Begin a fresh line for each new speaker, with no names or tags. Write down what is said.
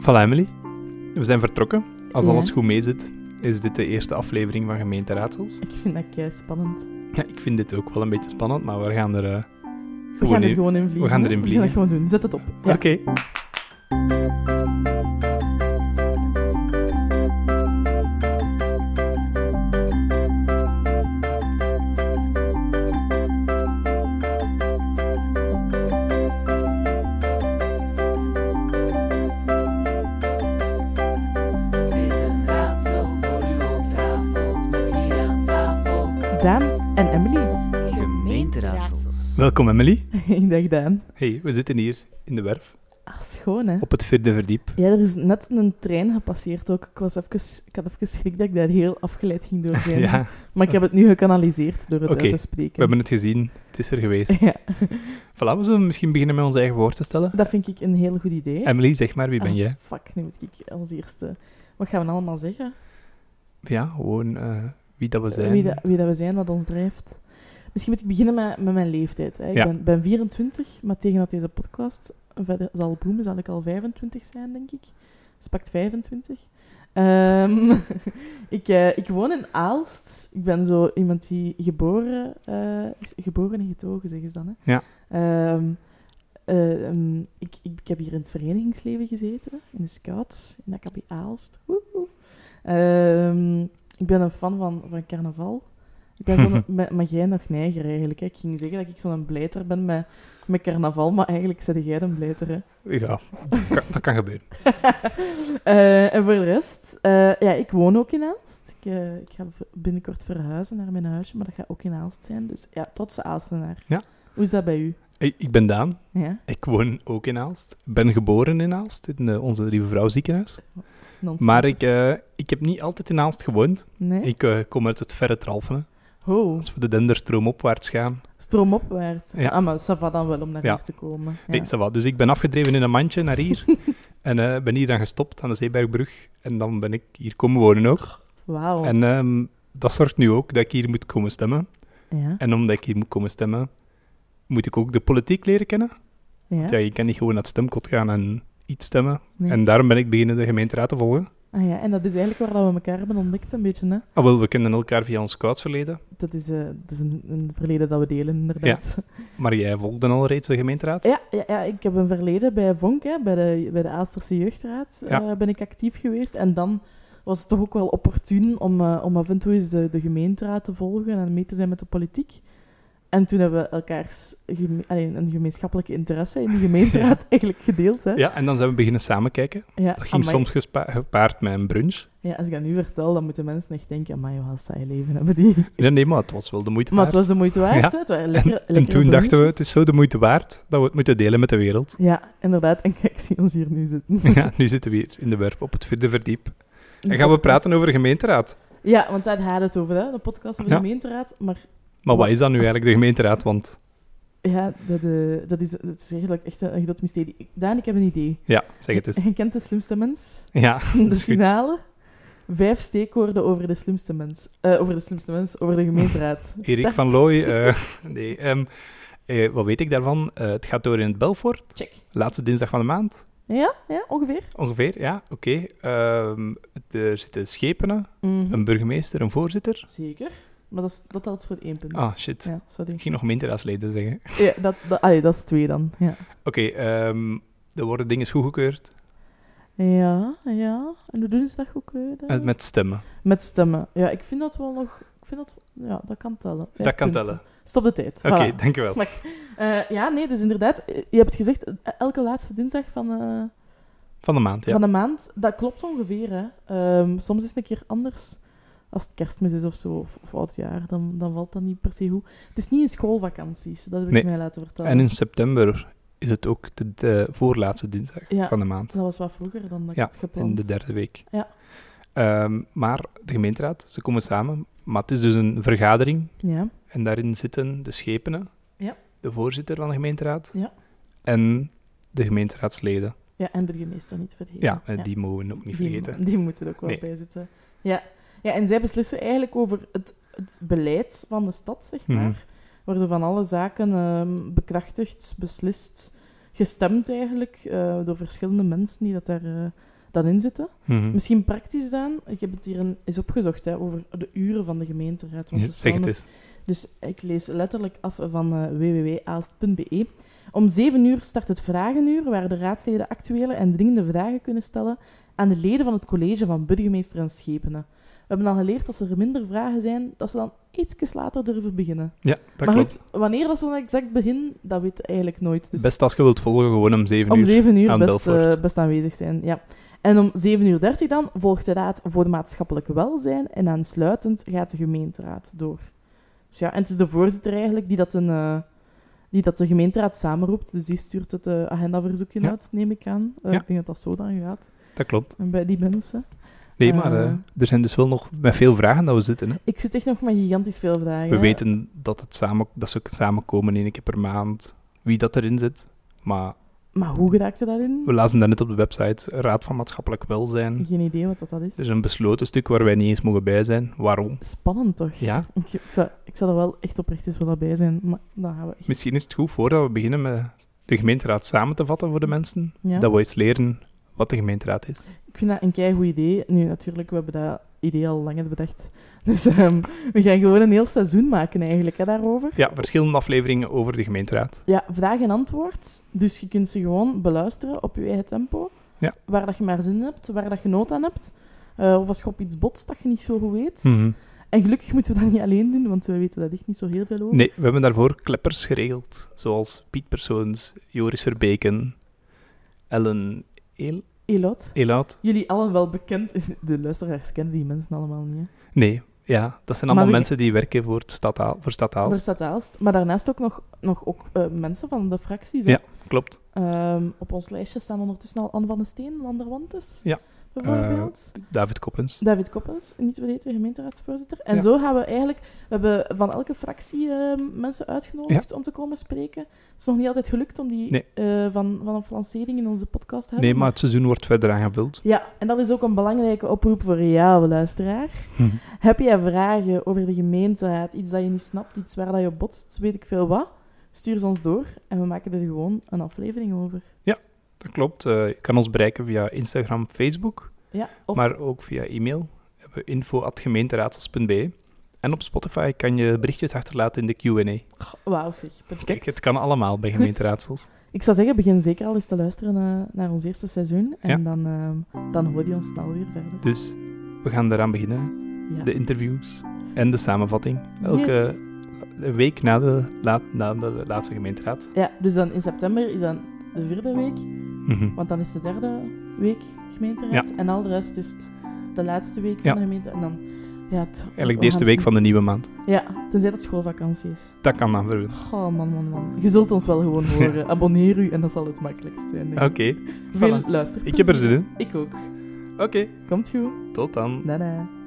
Voilà, Emily. We zijn vertrokken. Als
Ja.
alles goed mee zit, is dit de eerste aflevering van Gemeente Raadsels.
Ik vind dat kei spannend.
Ja, ik vind dit ook wel een beetje spannend, maar we gaan er... eh,
We
Gewoon
gaan er
in-
gewoon in vliegen.
we gaan
hè.
erin
We gaan
vliegen.
dat gewoon doen. Zet het op. Ja.
Oké.
Het is een raadsel voor uw hoofdtafel met hier aan tafel.
Daan en Emily.
Gemeenteraadsels.
Welkom, Emily.
Dag Daan.
Hey, we zitten hier in de werf,
Ah, schoon hè.
op het vierde verdiep.
Ja, er is net een trein gepasseerd ook. Ik, was even, ik had even schrik dat ik daar heel afgeleid ging door zijn.
Ja,
Maar ik heb het nu gekanaliseerd door het
Oké,
uit te
we
spreken.
hebben het gezien. Het is er geweest.
Ja,
Voilà, we zullen misschien beginnen met ons eigen woord te stellen.
dat vind ik een heel goed idee.
Emily, zeg maar, wie ben
Ah,
jij?
Fuck, nu moet ik als eerste... Wat gaan we allemaal zeggen?
Ja, gewoon eh, wie dat we zijn.
Wie, dat, wie dat we zijn, wat ons drijft. Misschien moet ik beginnen met, met mijn leeftijd. Hè. Ik
Ja.
ben, ben 24, maar tegen dat deze podcast verder zal bloemen, zal ik al 25 zijn, denk ik. Dus pakt 25. Ehm, ik, eh, ik woon in Aalst. Ik ben zo iemand die geboren, eh, is, geboren en getogen, zeggen ze dan. Hè.
Ja.
Ehm, eh, ehm, ik, ik, ik heb hier in het verenigingsleven gezeten, in de scouts, in de Akabi Aalst. Woehoe. Ehm, ik ben een fan van, van carnaval. Ik ben zo'n, maar- maar jij nog neiger eigenlijk. Hè. Ik ging zeggen dat ik zo'n blijter ben met, met carnaval, maar eigenlijk zet jij een blijter. Hè.
Ja, dat kan, dat kan gebeuren.
Eh, en voor de rest, eh, ja, ik woon ook in Aalst. Ik, eh, ik ga v- binnenkort verhuizen naar mijn huisje, maar dat gaat ook in Aalst zijn. Dus ja, trotse Aalstenaar.
Ja.
Hoe is dat bij u?
Ik, ik ben Daan.
Ja,
Ik woon ook in Aalst. Ik ben geboren in Aalst, in eh, onze lieve vrouw ziekenhuis.
non-sponsor.
Maar ik, eh, ik heb niet altijd in Aalst gewoond.
Nee?
Ik eh, kom uit het verre Tralfen.
Ho,
Als we de Denderstroom opwaarts gaan.
stroomopwaarts.
Ja.
Ah, maar ça va dan wel om naar
Ja.
hier te komen. Ja.
Nee, ça va. Dus ik ben afgedreven in een mandje naar hier. en eh, ben hier dan gestopt aan de Zeebergbrug. En dan ben ik hier komen wonen ook.
Wauw.
En ehm, dat zorgt nu ook dat ik hier moet komen stemmen.
Ja.
En omdat ik hier moet komen stemmen, moet ik ook de politiek leren kennen.
Ja.
Want Ja, je kan niet gewoon naar het stemkot gaan en iets stemmen.
Nee.
En daarom ben ik beginnen de gemeenteraad te volgen.
Ah, ja. En dat is eigenlijk waar dat we elkaar hebben ontdekt, een beetje. Hè?
Ah, wel, we kennen elkaar via ons koudsverleden.
Dat is, eh, dat is een, een verleden dat we delen, inderdaad.
Maar jij volgde al reeds de gemeenteraad?
Ja, ja, ja, ik heb een verleden bij Vonk, hè, bij, de, bij de Aasterse Jeugdraad, eh,
Ja.
ben ik actief geweest. En dan was het toch ook wel opportun om, eh, om af en toe eens de, de gemeenteraad te volgen en mee te zijn met de politiek. En toen hebben we elkaars geme- allee, een gemeenschappelijke interesse in de gemeenteraad eigenlijk gedeeld. Hè.
Ja, en dan zijn we beginnen samen kijken.
Ja,
Dat ging
amai.
soms gespa- gepaard met een brunch.
ja, als ik dat nu vertel, dan moeten mensen echt denken, amai, wat een saai leven hebben die.
Nee, nee, maar het was wel de moeite
Maar
waard.
het was de moeite waard, hè. Het waren lekker,
en, en
lekkere
toen dachten we,
bonnetjes.
het is zo de moeite waard dat we het moeten delen met de wereld.
Ja, inderdaad. En kijk, ik zie ons hier nu zitten.
ja, nu zitten we hier in de werf op het vierde verdiep. En gaan we praten over gemeenteraad.
Ja, want daar gaat het over, hè? de podcast over
Ja.
de gemeenteraad. Maar
Maar wat is dan nu eigenlijk de gemeenteraad? Want
ja, dat, eh, dat, is, dat is eigenlijk echt een, een groot mysterie. Ik- Daan, ik heb een idee.
ja, zeg het eens.
Je kent de slimste mens?
Ja, dat
De
is goed.
finale? Vijf steekwoorden over de slimste mens. Eh, over de slimste mens, over de gemeenteraad.
Erik
Start.
van Looy. eh, nee, ehm, eh, wat weet ik daarvan? Eh, het gaat door in het Belfort.
Check.
Laatste dinsdag van de maand,
Ja, ja ongeveer.
ongeveer. Ja, oké. Ehm, er zitten schepenen,
Mhm.
een burgemeester, een voorzitter.
Zeker. Maar dat, is, dat telt voor één punt.
Ah, shit.
Ja, sorry.
Ik ging nog gemeenteraadsleden zeggen. Oké,
Ja, dat, dat, allee, dat is twee dan. Ja.
ehm, er worden dingen goedgekeurd
ja, ja. En hoe doen ze dat ook weer? dan?
eh, met stemmen.
Met stemmen. Ja, ik vind dat wel nog... Ik vind dat... Ja, dat kan tellen. Vijf
Dat kan
punten.
tellen.
Stop de tijd.
Oké,
Voilà.
dankjewel.
Maar, eh, ja, nee, dus inderdaad. eh, Je hebt gezegd, eh, elke laatste dinsdag van, eh,
Van de maand, ja.
van de maand. Dat klopt ongeveer, hè. Ehm, soms is het een keer anders. Als het kerstmis is of zo, of, of oudjaar, dan, dan valt dat niet per se goed. Het is niet in schoolvakanties, dat heb ik
Nee.
mij laten vertellen.
En in september is het ook de, de voorlaatste dinsdag
Ja.
van de maand.
Dat was wat vroeger dan dat
Ja,
ik het gepland.
In de derde week.
Ja.
Ehm, maar de gemeenteraad, ze komen samen. Maar het is dus een vergadering.
Ja,
En daarin zitten de schepenen,
Ja.
de voorzitter van de gemeenteraad
Ja.
en de gemeenteraadsleden.
ja, en burgemeester niet vergeten.
Ja, en die mogen we ook niet
die,
vergeten.
Die moeten er ook wel
Nee.
bij zitten. Ja. ja, en zij beslissen eigenlijk over het, het beleid van de stad, zeg maar.
Mhm.
Worden van alle zaken ehm, bekrachtigd, beslist, gestemd eigenlijk eh, door verschillende mensen die dat daar eh, dan in zitten.
Mhm.
Misschien praktisch dan, ik heb het hier een- eens opgezocht hè, over de uren van de gemeenteraad. want
Ja,
het is
zeg
wel
het
nog-
eens.
dus ik lees letterlijk af van eh, www.aalst.be. E. Om 7 uur start het vragenuur, waar de raadsleden actuele en dringende vragen kunnen stellen aan de leden van het college van burgemeester en schepenen. We hebben al geleerd als er minder vragen zijn, dat ze dan ietsjes later durven beginnen.
Ja, dat
maar
klopt.
goed, wanneer dat ze dan exact beginnen, dat weet ik eigenlijk nooit. Dus
Best als je wilt volgen, gewoon om 7
om
uur.
7 uur
aan
best,
Belfort.
eh, best aanwezig zijn. Ja. En om 7 uur 30 dan volgt de Raad voor Maatschappelijk Welzijn en aansluitend gaat de gemeenteraad door. Dus ja, en het is de voorzitter eigenlijk die dat, een, eh, die dat de gemeenteraad samenroept. Dus die stuurt het eh, agendaverzoekje
Ja.
uit, neem ik aan. Eh,
Ja.
Ik denk dat dat zo dan gaat
Dat klopt.
eh, bij die mensen.
Nee,
Eh. Ah,
maar eh, er zijn dus wel nog met veel vragen dat we zitten. Hè.
Ik zit echt nog met gigantisch veel vragen.
We
hè.
weten dat, het samen, dat ze samenkomen één keer per maand, wie dat erin zit. Maar
Maar hoe geraakt ze daarin?
we lazen daarnet op de website Raad van Maatschappelijk Welzijn.
Geen idee wat dat, dat is.
Het is een besloten stuk waar wij niet eens mogen bij zijn. Waarom?
Spannend toch?
Ja,
Ik, ik, zou, ik zou er wel echt oprecht eens willen bij zijn, maar dan gaan we echt...
misschien is het goed voordat we beginnen met de gemeenteraad samen te vatten voor de mensen,
Ja?
dat we eens leren wat de gemeenteraad is.
Ik vind dat een keigoed idee. Nu, natuurlijk, we hebben dat idee al langer bedacht. Dus ehm, we gaan gewoon een heel seizoen maken eigenlijk hè, daarover.
Ja, verschillende afleveringen over de gemeenteraad.
Ja, vraag en antwoord. Dus je kunt ze gewoon beluisteren op je eigen tempo.
Ja.
Waar dat je maar zin in hebt, waar dat je nood aan hebt. Eh, of als je op iets botst dat je niet zo goed weet.
Hm.
En gelukkig moeten we dat niet alleen doen, want we weten daar echt niet zo heel veel over.
Nee, we hebben daarvoor kleppers geregeld, zoals Piet Persoons, Joris Verbeken, Ellen El
Elot,
Elaut.
jullie allen wel bekend. De luisteraars kennen die mensen allemaal niet. Hè.
Nee, ja, dat zijn
Maar
allemaal
ze-
mensen die werken voor, het stadhaal, voor Stadhaals.
Voor Stad Aalst. Maar daarnaast ook nog, nog ook, eh, mensen van de fracties. hè.
Ja. Klopt.
Ehm, op ons lijstje staan ondertussen al Anne van den Steen, Lander Wantes.
Ja. Eh,
Bijvoorbeeld.
David Koppens.
David Koppens, niet vergeten, gemeenteraadsvoorzitter. En
Ja.
zo gaan we eigenlijk... We hebben van elke fractie ehm, mensen uitgenodigd om te komen spreken. Het is nog niet altijd gelukt om die
Nee.
eh, van, vanaf lancering in onze podcast te hebben.
Nee, maar het seizoen wordt verder aangevuld.
Ja, en dat is ook een belangrijke oproep voor jou, luisteraar. Heb jij vragen over de gemeenteraad, iets dat je niet snapt, iets waar dat je botst, weet ik veel wat? Stuur ze ons door en we maken er gewoon een aflevering over.
Dat klopt. Eh, je kan ons bereiken via Instagram, Facebook,
Ja, of
maar ook via e-mail. We hebben info.gemeenteraadsels.be. En op Spotify kan je berichtjes achterlaten in de Q&A.
Wauw, zeg. Perfect.
Kijk, het kan allemaal bij
Goed.
gemeenteraadsels.
Ik zou zeggen, begin zeker al eens te luisteren eh, naar ons eerste seizoen. En
Ja.
dan, ehm, dan hoor je ons snel weer verder.
Dus we gaan eraan beginnen.
Ja.
De eh, interviews en de samenvatting. Elke
Yes.
week na de, laat- na de laatste gemeenteraad.
ja, dus dan in september is dan de vierde week.
Mhm.
Want dan is de derde week gemeenteraad. En al de rest is het de laatste week van
Ja.
de gemeente. En dan... Ja,
Eigenlijk
het- we gaan
de eerste
het
week
zien.
van de nieuwe maand.
Ja, tenzij dat schoolvakantie is.
Dat kan dan verder.
Oh, man, man, man. Je zult ons wel gewoon horen. Abonneer u en dat zal het makkelijkst zijn. denk
Oké,
ik. Veel
voilà.
luisterplezier.
Ik heb er zin in.
Ik ook.
Oké,
Komt goed.
tot dan.
Dada.